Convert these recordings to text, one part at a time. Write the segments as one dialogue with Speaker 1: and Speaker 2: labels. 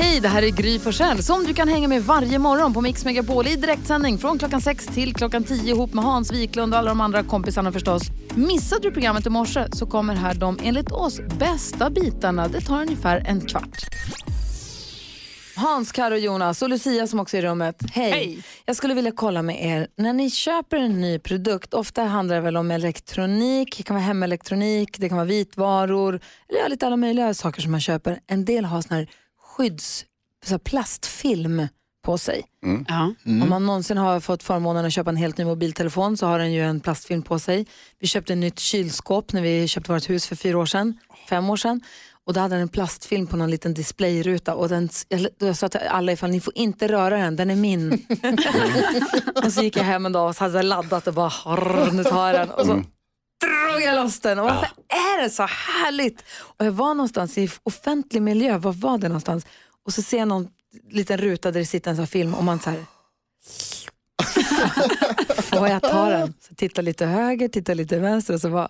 Speaker 1: Hej, det här är Gry Forssell som du kan hänga med varje morgon på Mix Megapol i direktsändning från klockan 6 till klockan 10 ihop med Hans Wiklund och alla de andra kompisarna förstås. Missade du programmet i morse så kommer här de enligt oss bästa bitarna. Det tar ungefär en kvart. Hans, Karo, Jonas och Lucia som också är i rummet. Hej. Jag skulle vilja kolla med er, när ni köper en ny produkt, ofta handlar det väl om elektronik, det kan vara hemelektronik, det kan vara vitvaror, eller ja, lite alla möjliga saker som man köper. En del har sån här skydds, så här plastfilm på sig. Om man någonsin har fått förmånen att köpa en helt ny mobiltelefon så har den ju en plastfilm på sig. Vi köpte ett nytt kylskåp när vi köpte vårt hus för fyra år sedan, fem år sedan. Och då hade den en plastfilm på någon liten displayruta och den, jag, då sa jag till alla ifall ni får inte röra den, den är min. och så gick jag hem en dag och så hade jag laddat och bara "Harr, nu tar jag den. Och så drog jag loss den och varför är det så härligt? Och jag var någonstans i offentlig miljö, var var det någonstans? Och så ser jag någon liten ruta där det sitter en sån här film och man så här Får jag ta den? Så titta lite höger, titta lite vänster och så bara...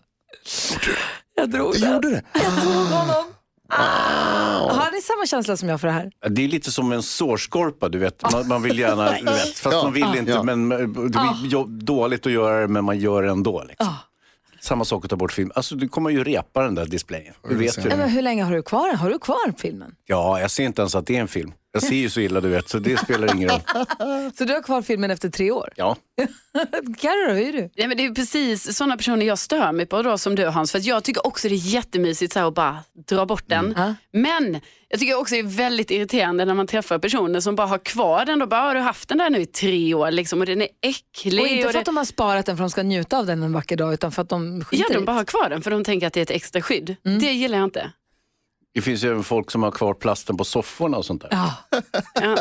Speaker 1: Jag drog den.
Speaker 2: Gjorde det?
Speaker 1: Jag tog honom. Ah. Har ni samma känsla som jag för det här?
Speaker 3: Ja, Det är lite som en sårskorpa, du vet. Man, man vill gärna, du vet, fast
Speaker 2: Ja,
Speaker 3: man vill inte.
Speaker 2: ja.
Speaker 3: Men, det
Speaker 1: Ah.
Speaker 3: blir jo- dåligt att göra det, men man gör det ändå. Liksom. Samma sak att ta bort film. Alltså, du kommer ju repa den där displayen. Du vet ju.
Speaker 1: Nej, Men hur länge har du kvar den? Har du kvar filmen?
Speaker 3: Ja, jag ser inte ens att det är en film. Jag ser ju så illa, du vet, så det spelar ingen roll.
Speaker 1: Så du har kvar filmen efter tre år?
Speaker 3: Ja.
Speaker 1: Carro, hur är du?
Speaker 4: Nej, men det är ju precis sådana personer jag stör mig på då som du Hans. För att jag tycker också det är jättemysigt så här, att bara dra bort den.
Speaker 1: Mm. Ja.
Speaker 4: Men jag tycker också det är väldigt irriterande när man träffar personer som bara har kvar den. Och bara, "Ah, har du haft den där nu i tre år liksom, och den är äcklig.
Speaker 1: Och inte
Speaker 4: och
Speaker 1: för
Speaker 4: det...
Speaker 1: att de har sparat den för att de ska njuta av den en vacker dag utan för att de skiter
Speaker 4: Ja,
Speaker 1: i det.
Speaker 4: de
Speaker 1: Mm.
Speaker 4: bara har kvar den för de tänker att det är ett extra skydd. Det gillar jag inte.
Speaker 3: Det finns ju även folk som har kvar plasten på sofforna och sånt där.
Speaker 1: Ja.
Speaker 4: Ja.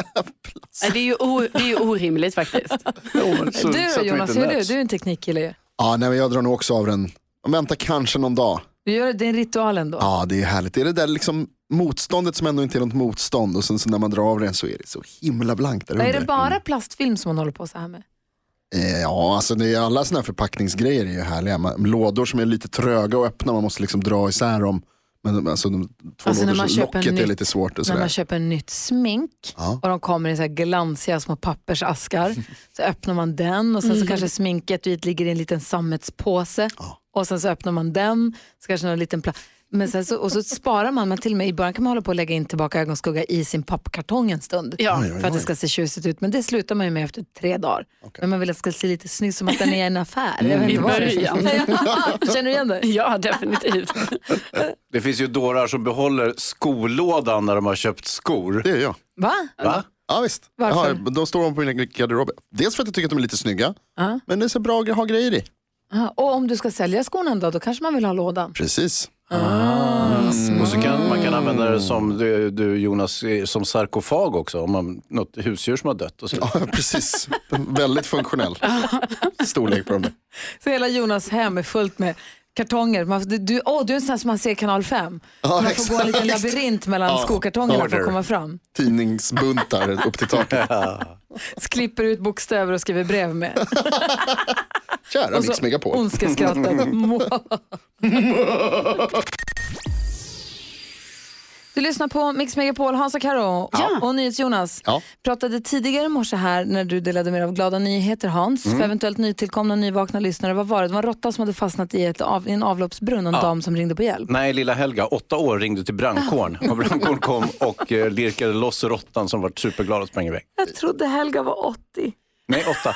Speaker 4: Nej, det, är ju o... det är ju orimligt faktiskt.
Speaker 3: Jo, men så-
Speaker 1: Du
Speaker 3: så
Speaker 1: då
Speaker 3: att vi
Speaker 1: Jonas,
Speaker 3: inte
Speaker 1: hur är du?
Speaker 3: möts.
Speaker 1: Du är en teknikkille ju.
Speaker 2: Ja, nej, men jag drar nog också av den. Vänta kanske någon dag.
Speaker 1: Du gör den ritualen då.
Speaker 2: Ja, det är härligt. Det är det där liksom motståndet som ändå inte är något motstånd och sen så när man drar av den så är det så himla blankt där
Speaker 1: Är
Speaker 2: under.
Speaker 1: det bara plastfilm som man håller på så här med?
Speaker 2: Eh, Ja, alltså det är alla sådana här förpackningsgrejer är ju härliga. Man, lådor som är lite tröga att öppna, man måste liksom dra isär dem. Men de- alltså, de två
Speaker 1: Alltså, när
Speaker 2: lådor,
Speaker 1: man
Speaker 2: så-
Speaker 1: köper
Speaker 2: locket är
Speaker 1: nytt-
Speaker 2: lite svårt och
Speaker 1: när man
Speaker 2: sådär.
Speaker 1: köper nytt smink
Speaker 2: Ja.
Speaker 1: och de kommer i så här glansiga små pappersaskar. Så öppnar man den och sen så
Speaker 4: Mm.
Speaker 1: kanske sminket dit ligger i en liten sammetspåse. Och sen så öppnar man den, så kanske någon liten pla- men sen så, och så sparar man, man till och med i början kan man hålla på att lägga in tillbaka ögonskugga i sin pappkartong en stund.
Speaker 4: Ja.
Speaker 2: oj,
Speaker 1: För att det ska se tjusigt ut, men det slutar man ju med efter tre dagar. Men man vill att det ska se lite snyggt, som att den är i en affär. Jag vet
Speaker 4: Mm, I
Speaker 1: inte vad det är.
Speaker 4: början.
Speaker 1: Känner du igen det?
Speaker 4: Ja, definitivt.
Speaker 3: Det finns ju dårar som behåller skolådan när de har köpt skor.
Speaker 2: Det är jag.
Speaker 1: Va?
Speaker 3: Va?
Speaker 2: Ja visst.
Speaker 1: Varför?
Speaker 2: Ja, de står de på min garderob. Dels för att jag tycker att de är lite snygga,
Speaker 1: Ja.
Speaker 2: men det är så bra att ha grejer i.
Speaker 1: Ja, Och om du ska sälja skorna en dag, då kanske man vill ha lådan.
Speaker 2: Precis.
Speaker 3: Och så kan, man kan använda det som du, du Jonas, eh, som sarkofag också. Om man, något husdjur som har dött och så.
Speaker 2: Ja, precis. Väldigt funktionell storlek på dem. där.
Speaker 1: Så hela Jonas hem är fullt med kartonger. Man, du, du, åh, du är en sån här som man ser i kanal 5. man får gå en liten
Speaker 2: exakt.
Speaker 1: labyrint mellan skokartongerna för att
Speaker 2: order.
Speaker 1: komma fram.
Speaker 2: Tidningsbuntar upp till taket.
Speaker 1: Så klipper ut bokstäver och skriver brev med.
Speaker 2: Kära
Speaker 1: Och så
Speaker 2: Mix Megapol.
Speaker 1: Ondskeskrattet. Du lyssnar på Mix Megapol, Hans och Karo
Speaker 4: Ja.
Speaker 1: och NyhetsJonas.
Speaker 2: Ja.
Speaker 1: pratade tidigare i morse här när du delade med dig av glada nyheter Hans,
Speaker 2: Mm.
Speaker 1: för eventuellt nytillkomna nyvakna lyssnare. Vad var det? Det var en råtta som hade fastnat i, ett av, i en avloppsbrunn och en dam som ringde på hjälp.
Speaker 3: Nej, lilla Helga, åtta år, ringde till brandkåren. Och brandkåren kom och eh, lirkade loss råttan som var superglad och sprang iväg.
Speaker 1: Jag trodde Helga var 80.
Speaker 3: Nej, åtta.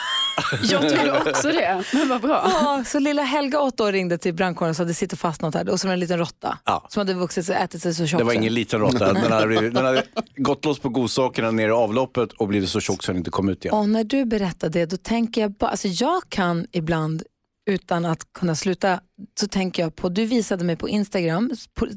Speaker 4: Jag trodde också det, men vad bra.
Speaker 1: Ja, så lilla Helga åtta år ringde till brandkåren och sa det sitter fast något här och så var det en liten råtta
Speaker 3: Ja.
Speaker 1: som hade vuxit sig, ätit sig så tjock.
Speaker 3: Det var
Speaker 1: så.
Speaker 3: ingen liten råtta. Den hade, blivit- den hade gått loss på godsakerna nere i avloppet och blivit så tjock så den inte kom ut igen.
Speaker 1: Och när du berättar det, då tänker jag bara, alltså jag kan ibland utan att kunna sluta, så tänker jag på, du visade mig på Instagram, på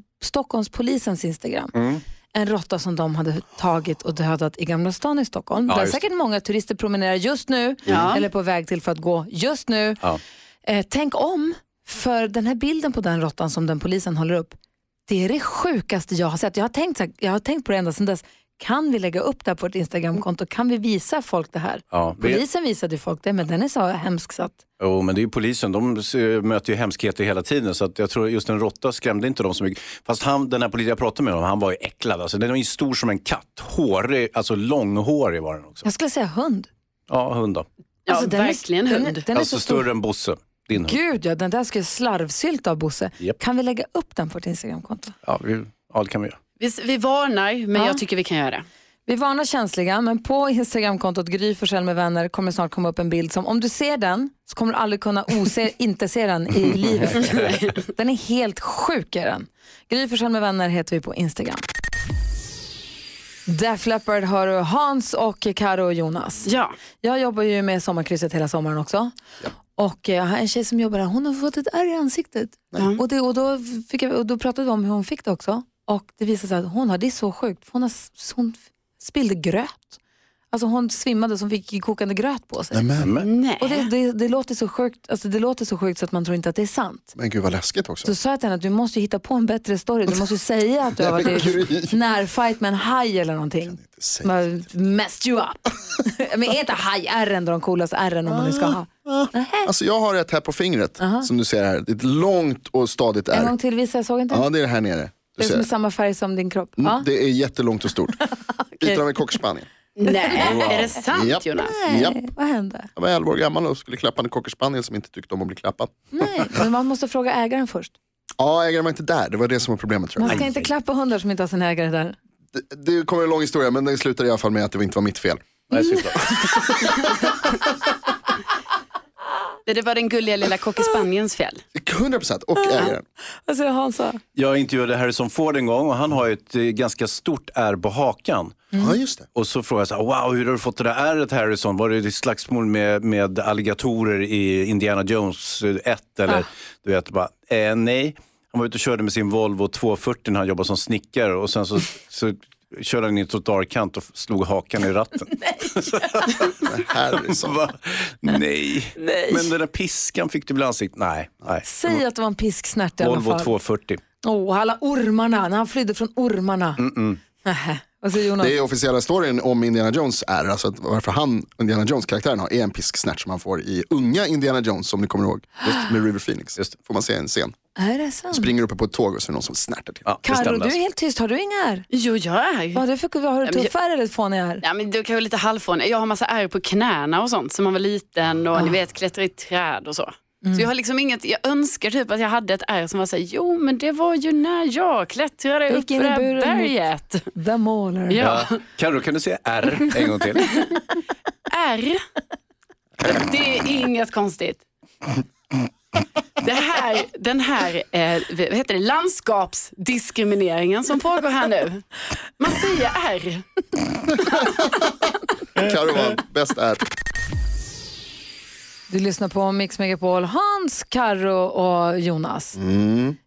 Speaker 1: Stockholmspolisens Instagram,
Speaker 3: Mm.
Speaker 1: en råtta som de hade tagit och dödat i Gamla stan i Stockholm.
Speaker 3: Ja,
Speaker 1: där
Speaker 3: just det.
Speaker 1: säkert många turister promenerar just nu,
Speaker 4: Ja.
Speaker 1: eller på väg till för att gå just nu.
Speaker 3: Ja.
Speaker 1: Eh, tänk om, För den här bilden på den råttan som den polisen håller upp, det är det sjukaste jag har sett. Jag har tänkt, så här, jag har tänkt på det ända sedan dess. Kan vi lägga upp det här på vårt Instagramkonto? Kan vi visa folk det här?
Speaker 3: Ja, vi-
Speaker 1: Polisen visade ju folk det, men den är så hemsk så att...
Speaker 3: Jo, men det är ju polisen. De s- eh, möter ju hemskheter hela tiden. Så att jag tror just en råtta skrämde inte dem så mycket. Fast han, den här polisen jag pratade med, honom, han var ju äcklad. Alltså, den var ju stor som en katt. Hårig, alltså långhårig var den också.
Speaker 1: Jag skulle säga hund.
Speaker 3: Ja, hund då.
Speaker 4: Ja,
Speaker 1: Alltså, den är-
Speaker 4: verkligen
Speaker 1: den är-
Speaker 4: hund.
Speaker 1: den är
Speaker 3: Alltså
Speaker 1: så stor.
Speaker 3: större än Bosse, din hund.
Speaker 1: Gud ja, den där skulle jag slarvsylta av Bosse.
Speaker 3: Japp.
Speaker 1: Kan vi lägga upp den på vårt Instagramkonto?
Speaker 3: Ja, vi, ja, det kan vi göra.
Speaker 4: Vi, vi varnar, men
Speaker 1: Ja.
Speaker 4: jag tycker vi kan göra det.
Speaker 1: Vi varnar känsliga, men på Instagramkontot Gry Forssell med vänner kommer snart komma upp en bild som om du ser den så kommer du aldrig kunna ose, inte se den i livet. Den är helt sjuk är den. Gry Forssell med vänner heter vi på Instagram. Def Leppard har du Hans och Karo och Jonas.
Speaker 4: Ja.
Speaker 1: Jag jobbar ju med sommarkrysset hela sommaren också. Och eh, jag har en tjej som jobbar där, hon har fått ett ärr i ansiktet. Och, det, och, då fick jag, och då pratade vi om hur hon fick det också. Och det visade sig att hon har, det är så sjukt, för hon, har, s- hon f- spillde gröt. Alltså hon svimmade så hon fick kokande gröt på sig.
Speaker 2: Men,
Speaker 4: Nej.
Speaker 1: Och det, det, det, låter så sjukt, alltså det låter så sjukt så att man tror inte att det är sant.
Speaker 2: men gud vad läskigt också.
Speaker 1: Så sa jag till henne att du måste ju hitta på en bättre story. Du måste ju säga att du har varit i närfight med en haj eller någonting.
Speaker 2: Säg.
Speaker 1: Man messed you up. Men är inte haj-ärren de coolaste ärren om man nu ska ha?
Speaker 2: Alltså jag har ett här på fingret som du ser här. Det är ett långt och stadigt
Speaker 1: En
Speaker 2: ärr.
Speaker 1: gång till, visa, jag såg inte.
Speaker 2: Ja, det är det här nere. Du
Speaker 1: det är
Speaker 2: ser.
Speaker 1: som är samma färg som din kropp.
Speaker 2: Mm,
Speaker 1: Ja.
Speaker 2: Det är jättelångt och stort. Lite av en cocker
Speaker 4: Nej. Är det sant
Speaker 2: Japp.
Speaker 4: Jonas?
Speaker 1: Ah,
Speaker 2: Japp.
Speaker 1: Nej, vad hände?
Speaker 2: Jag var 11 år gammal och skulle klappa en cocker spaniel som inte tyckte om att bli klappad.
Speaker 1: Nej, men man måste fråga ägaren först.
Speaker 2: Ja, ägaren var inte där. Det var det som var problemet tror
Speaker 1: Man
Speaker 2: jag.
Speaker 1: ska inte klappa hundar som inte har sin ägare där.
Speaker 2: Det, det kommer en lång historia men den slutade i alla fall med att det inte var mitt fel.
Speaker 3: Nej, såklart.
Speaker 4: Det var den gulliga lilla cockerspaniens fel.
Speaker 2: 100% och
Speaker 1: Ah.
Speaker 2: ägaren.
Speaker 1: Vad säger Hansa?
Speaker 3: Jag intervjuade Harrison Ford en gång och han har ju ett eh, ganska stort ärr på hakan.
Speaker 2: Ja, just det.
Speaker 3: Och så frågade jag så här, wow, hur har du fått det där ärret Harrison? Var det ett slagsmål med, med alligatorer i Indiana Jones eh, 1? Eller, du vet, bara, eh, nej. Han var ute och körde med sin Volvo 240 när han jobbade som snickare och sen så, så körde han in i en trottoarkant och f- slog hakan i ratten.
Speaker 2: Harrison.
Speaker 3: Va? nej. Men den där piskan fick du väl i ansiktet? Nej. nej.
Speaker 2: Mm.
Speaker 1: Säg att det var en pisksnärt i alla
Speaker 3: Volvo
Speaker 1: fall.
Speaker 3: 240.
Speaker 1: Åh, alla ormarna, när han flydde från ormarna. Nähä. Vad säger Jonas?
Speaker 2: Mm, Det är officiella storyn om Indiana Jones är, alltså att varför han, Indiana Jones-karaktären har, är en pisksnärt som han får i unga Indiana Jones, om ni kommer ihåg, med River Phoenix.
Speaker 3: Just
Speaker 2: Får man se en scen.
Speaker 1: Är det sant?
Speaker 2: Springer uppe på ett tåg och så är det någon som snärtar till.
Speaker 3: Ja, det
Speaker 1: Carro,
Speaker 3: stämde
Speaker 1: du är
Speaker 3: alltså.
Speaker 1: helt tyst. Har du inga ärr?
Speaker 4: Jo, jag är ju...
Speaker 1: Vad har du för vad har du
Speaker 4: men jag-
Speaker 1: tuffa ärr eller fåniga ärr?
Speaker 4: Ja, men det kan vara lite halvfånig. Jag har massa ärr på knäna och sånt som man var liten och ni vet klättra i träd och så. Så jag har liksom inget, jag önskar typ att jag hade ett ärr som var såhär, jo men det var ju när jag klättrade
Speaker 1: Jag
Speaker 4: upp
Speaker 1: gick
Speaker 4: för
Speaker 1: in i
Speaker 4: det här
Speaker 1: buren mot-
Speaker 4: berget.
Speaker 1: The Mauler.
Speaker 4: Ja,
Speaker 3: Ja. Carro, kan du säga R en gång till?
Speaker 4: ärr. Det är inget konstigt. Det här, den här eh, vad heter det, landskapsdiskrimineringen som pågår här nu. Man säger ärr.
Speaker 2: Carro vann, bäst är.
Speaker 1: Du lyssnar på Mix Megapol, Hans, Karro och Jonas.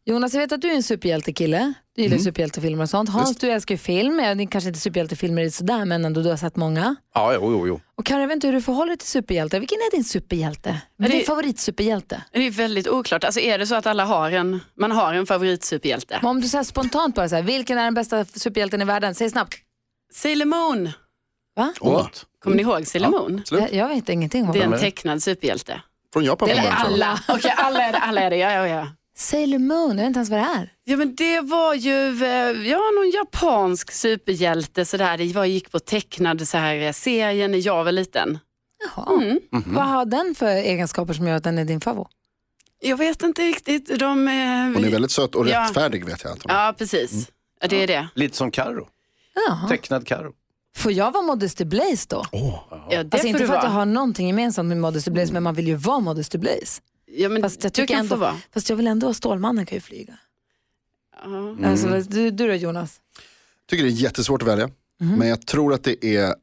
Speaker 1: Jonas, jag vet att du är en superhjältekille. Du gillar superhjältefilmer och sånt. Hans, du älskar ju film. Ja, det är kanske inte superhjältefilmer i sådär, men ändå du har sett många.
Speaker 3: Ja, jo, jo, jo.
Speaker 1: Och Karro, jag vet inte hur du förhåller dig till superhjältar. Vilken är din superhjälte? Vad är
Speaker 4: det-
Speaker 1: din favoritsuperhjälte?
Speaker 4: Det är väldigt oklart. Alltså är det så att alla har en, man har en favoritsuperhjälte?
Speaker 1: Men om du så här spontant bara säger, vilken är den bästa superhjälten i världen? Säg snabbt.
Speaker 4: Sailor Moon.
Speaker 2: Åh,
Speaker 4: Kommer ni ihåg Sailor Moon?
Speaker 2: slut.
Speaker 1: Jag, jag vet ingenting om
Speaker 4: Det är
Speaker 1: det.
Speaker 4: en tecknad superhjälte.
Speaker 2: Från Japan
Speaker 4: Eller
Speaker 2: från början, tror jag.
Speaker 4: alla. Okej, alla är det. Alla är det. Ja, ja, ja.
Speaker 1: Sailor Moon, jag vet inte ens vad det är.
Speaker 4: Ja, men det var ju eh, ja, någon japansk superhjälte. Sådär. Det var, gick på tecknad så här, eh, serien när jag var liten.
Speaker 1: Jaha.
Speaker 4: Mhm.
Speaker 1: Vad har den för egenskaper som gör att den är din favorit?
Speaker 4: Jag vet inte riktigt. De, eh,
Speaker 2: Hon är väldigt söt och
Speaker 4: Ja.
Speaker 2: rättfärdig vet jag. Att hon är.
Speaker 4: Ja, precis. Ja, det är det.
Speaker 3: Lite som Carro.
Speaker 1: Jaha.
Speaker 3: Tecknad Carro.
Speaker 1: Får jag vara Modesty Blaze då?
Speaker 4: Ja, det
Speaker 1: alltså
Speaker 4: får
Speaker 1: inte
Speaker 4: du
Speaker 1: för att jag
Speaker 4: vara.
Speaker 1: har någonting gemensamt med Modesty Blaze, men man vill ju vara Modesty Blaze.
Speaker 4: Ja, men
Speaker 1: Fast jag
Speaker 4: Mm. du
Speaker 1: tycker
Speaker 4: kan
Speaker 1: ändå,
Speaker 4: få vara.
Speaker 1: Fast jag vill ändå, Stålmannen kan ju flyga.
Speaker 4: Ja.
Speaker 1: Alltså, du, du då Jonas? Mm.
Speaker 2: Tycker det är jättesvårt att välja.
Speaker 4: Mm.
Speaker 2: Men jag tror att det är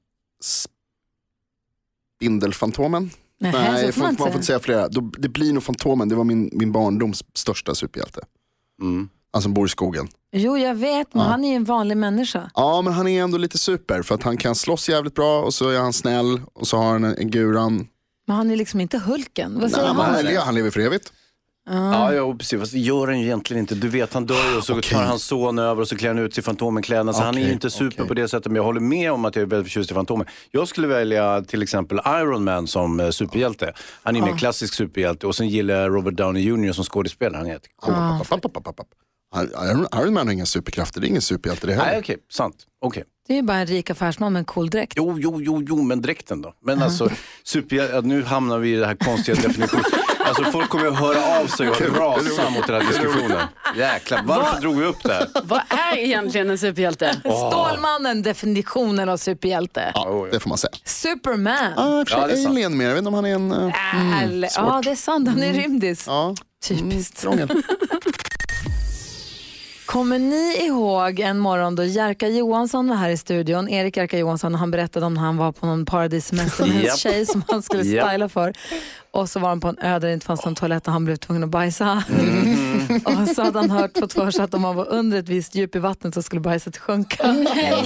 Speaker 2: Spindelfantomen.
Speaker 1: Nähä,
Speaker 2: Nej,
Speaker 1: så
Speaker 2: man får, man får inte säga flera. Då, det blir nog Fantomen, det var min, min barndoms största superhjälte. Han som bor i skogen.
Speaker 1: Jo, jag vet, men han är ju en vanlig människa.
Speaker 2: Ja, men han är ändå lite super för att han kan slåss jävligt bra och så är han snäll och så har han en, en guran.
Speaker 1: Men han är liksom inte Hulken. Vad säger
Speaker 2: Nej, men
Speaker 1: han?
Speaker 2: han, är- han lever för evigt.
Speaker 3: Ja, ja, precis. Fast det gör han ju egentligen inte. Du vet, han dör ju och så
Speaker 2: Okej.
Speaker 3: tar hans son över och så klär han ut sig i Fantomen-kläderna. Så han är ju
Speaker 2: Okej,
Speaker 3: inte super
Speaker 2: okej.
Speaker 3: på det sättet. Men jag håller med om att jag är väldigt förtjust i Fantomen. Jag skulle välja till exempel Iron Man som eh, superhjälte. Han är ju mer klassisk superhjälte. Och sen gillar jag Robert Downey Jr som skådespelare. Han är jättekul.
Speaker 2: Papp, papp, papp, papp, papp. Iron- Iron Man har inga superkrafter, det är ingen superhjälte det
Speaker 3: Nej,
Speaker 2: heller.
Speaker 3: okej. Sant. Okej.
Speaker 1: Det är ju bara en rik affärsman med en cool dräkt.
Speaker 3: Jo, jo, jo, jo, men dräkten då? Men alltså, superhjälte, ja, nu hamnar vi i den här konstiga definitionen. Alltså folk kommer att höra av sig och rasa mot den här diskussionen. Jäklar, varför drog vi upp det här?
Speaker 4: Vad är egentligen en superhjälte?
Speaker 1: Stålmannen, definitionen av superhjälte.
Speaker 2: Ja, det får man säga.
Speaker 1: Superman.
Speaker 2: Ah, i och för
Speaker 3: Ja, det är
Speaker 2: sig
Speaker 3: sant.
Speaker 2: Alien mer, jag vet inte om han är en... eh,
Speaker 4: Mm.
Speaker 1: Härlig. ja, det är sant. Han är rymdis.
Speaker 2: Ja,
Speaker 1: Typiskt.
Speaker 2: krångel.
Speaker 1: Kommer ni ihåg en morgon då Jerka Johansson var här i studion, Erik Jerka Johansson, och han berättade om när han var på någon paradissemester med en
Speaker 3: Japp.
Speaker 1: tjej som han skulle
Speaker 3: Japp.
Speaker 1: styla för. Och så var han på en ö där det inte fanns någon toalett och han blev tvungen att bajsa.
Speaker 3: Mm.
Speaker 1: och så hade han hört på för sig att om man var under ett visst djup i vattnet så skulle bajset sjunka. Så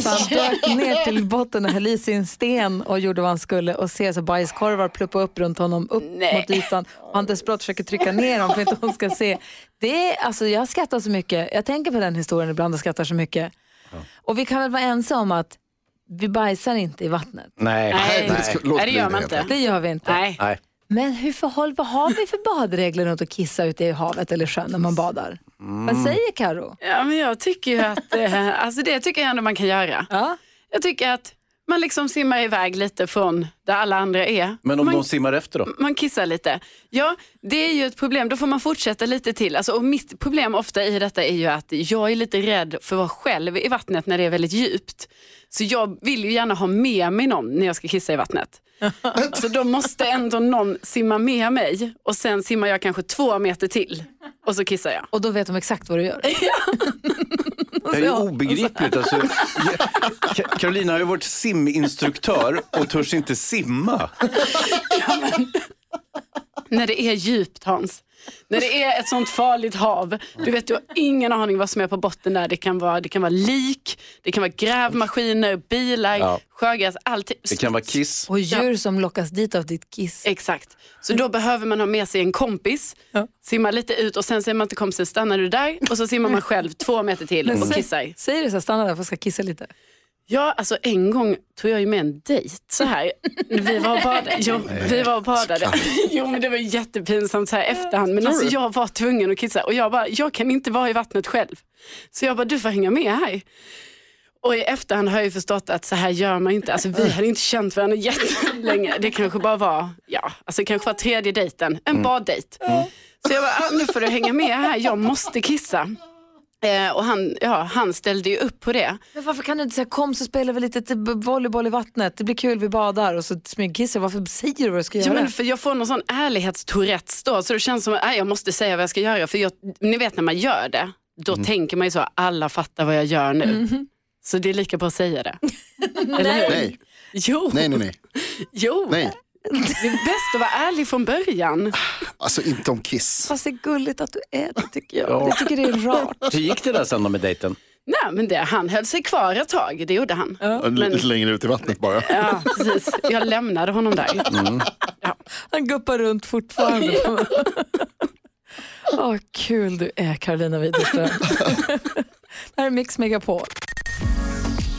Speaker 1: han dök ner till botten och höll i sin sten och gjorde vad han skulle och ser så bajskorvar pluppa upp runt honom, upp mot ytan. Och han desperat försöker trycka ner dem för att inte hon ska se. Det är, alltså, jag skrattar så mycket. Jag tänker på den historien ibland och skrattar så mycket. Och vi kan väl vara ensamma om att vi bajsar inte i vattnet.
Speaker 3: Nej.
Speaker 4: Nej,
Speaker 2: det ska- låt
Speaker 4: nej, det
Speaker 2: bli
Speaker 4: gör
Speaker 2: det
Speaker 4: man
Speaker 2: helt
Speaker 4: inte.
Speaker 1: Det gör vi inte.
Speaker 4: Nej.
Speaker 3: Nej.
Speaker 1: Men hur förhåll, vad har vi för badregler runt att kissa ute i havet eller sjön när man badar? Vad säger Karo?
Speaker 4: Ja, men jag tycker ju att, eh, alltså det tycker jag ändå man kan göra.
Speaker 1: Ja.
Speaker 4: Jag tycker att man liksom simmar iväg lite från där alla andra är.
Speaker 3: Men om
Speaker 4: man, Mm,
Speaker 3: de simmar efter då?
Speaker 4: man kissar lite. Ja, det är ju ett problem. Då får man fortsätta lite till. Alltså, och mitt problem ofta i detta är ju att jag är lite rädd för att vara själv i vattnet när det är väldigt djupt. Så jag vill ju gärna ha med mig någon när jag ska kissa i vattnet. Så då måste ändå någon simma med mig och sen simmar jag kanske två meter till och så kissar jag.
Speaker 1: Och då vet de exakt vad du gör.
Speaker 3: Det är ju obegripligt. Alltså, Ka- Carolina har ju varit siminstruktör och törs inte simma.
Speaker 4: När det är djupt Hans. När det är ett sånt farligt hav. Du vet, du har ingen aning vad som är på botten där. Det kan vara, det kan vara lik, det kan vara grävmaskiner, bilar,
Speaker 3: Ja.
Speaker 4: sjögräs, allt.
Speaker 3: Det kan vara kiss.
Speaker 1: Och djur som lockas dit av ditt kiss.
Speaker 4: Exakt. Så då behöver man ha med sig en kompis, simma lite ut och sen säger man till kompisen, stannar du där? Och så simmar man själv två meter till och kissar.
Speaker 1: Säger du så här, stanna där för jag ska kissa lite.
Speaker 4: Ja, alltså en gång tog jag ju med en dejt så här. Vi var och badade. Jo, vi var och badade. Jo, men det var jättepinsamt så här efterhand. Men alltså jag var tvungen att kissa och jag bara, jag kan inte vara i vattnet själv. Så jag bara, du får hänga med här. Och i efterhand har jag ju förstått att så här gör man inte. Alltså vi hade inte känt varandra jättelänge. Det kanske bara var, ja, alltså det kanske var tredje dejten. En baddejt. Så jag bara, ah, nu får du hänga med här. Jag måste kissa. Eh, och han, ja, han ställde ju upp på det.
Speaker 1: Men varför kan du inte säga kom så spelar vi lite typ volleyboll i vattnet, det blir kul, vi badar och så smygkissar Varför säger du vad du ska
Speaker 4: Ja,
Speaker 1: göra?
Speaker 4: men för jag får någon sån ärlighetstourettes då, så det känns som att nej, jag måste säga vad jag ska göra. För jag, ni vet när man gör det, då
Speaker 2: Mm.
Speaker 4: tänker man ju så, alla fattar vad jag gör nu. Så det är lika bra att säga det. Eller hur?
Speaker 2: Nej,
Speaker 4: Jo,
Speaker 2: nej, nej, nej.
Speaker 4: jo.
Speaker 2: nej.
Speaker 4: det är bäst att vara ärlig från början.
Speaker 2: Alltså inte om Kiss.
Speaker 1: Fast det är gulligt att du är det tycker jag. Jag tycker det är rart.
Speaker 3: Hur gick det där sen då med dejten?
Speaker 4: Nej, men det, han höll sig kvar ett tag, det gjorde han. Ja,
Speaker 2: Lite längre ut i vattnet bara. Mm.
Speaker 4: precis. Jag lämnade honom där.
Speaker 1: Han guppar runt fortfarande. Åh, kul du är Carolina Widerström. det här är Mix Megapol.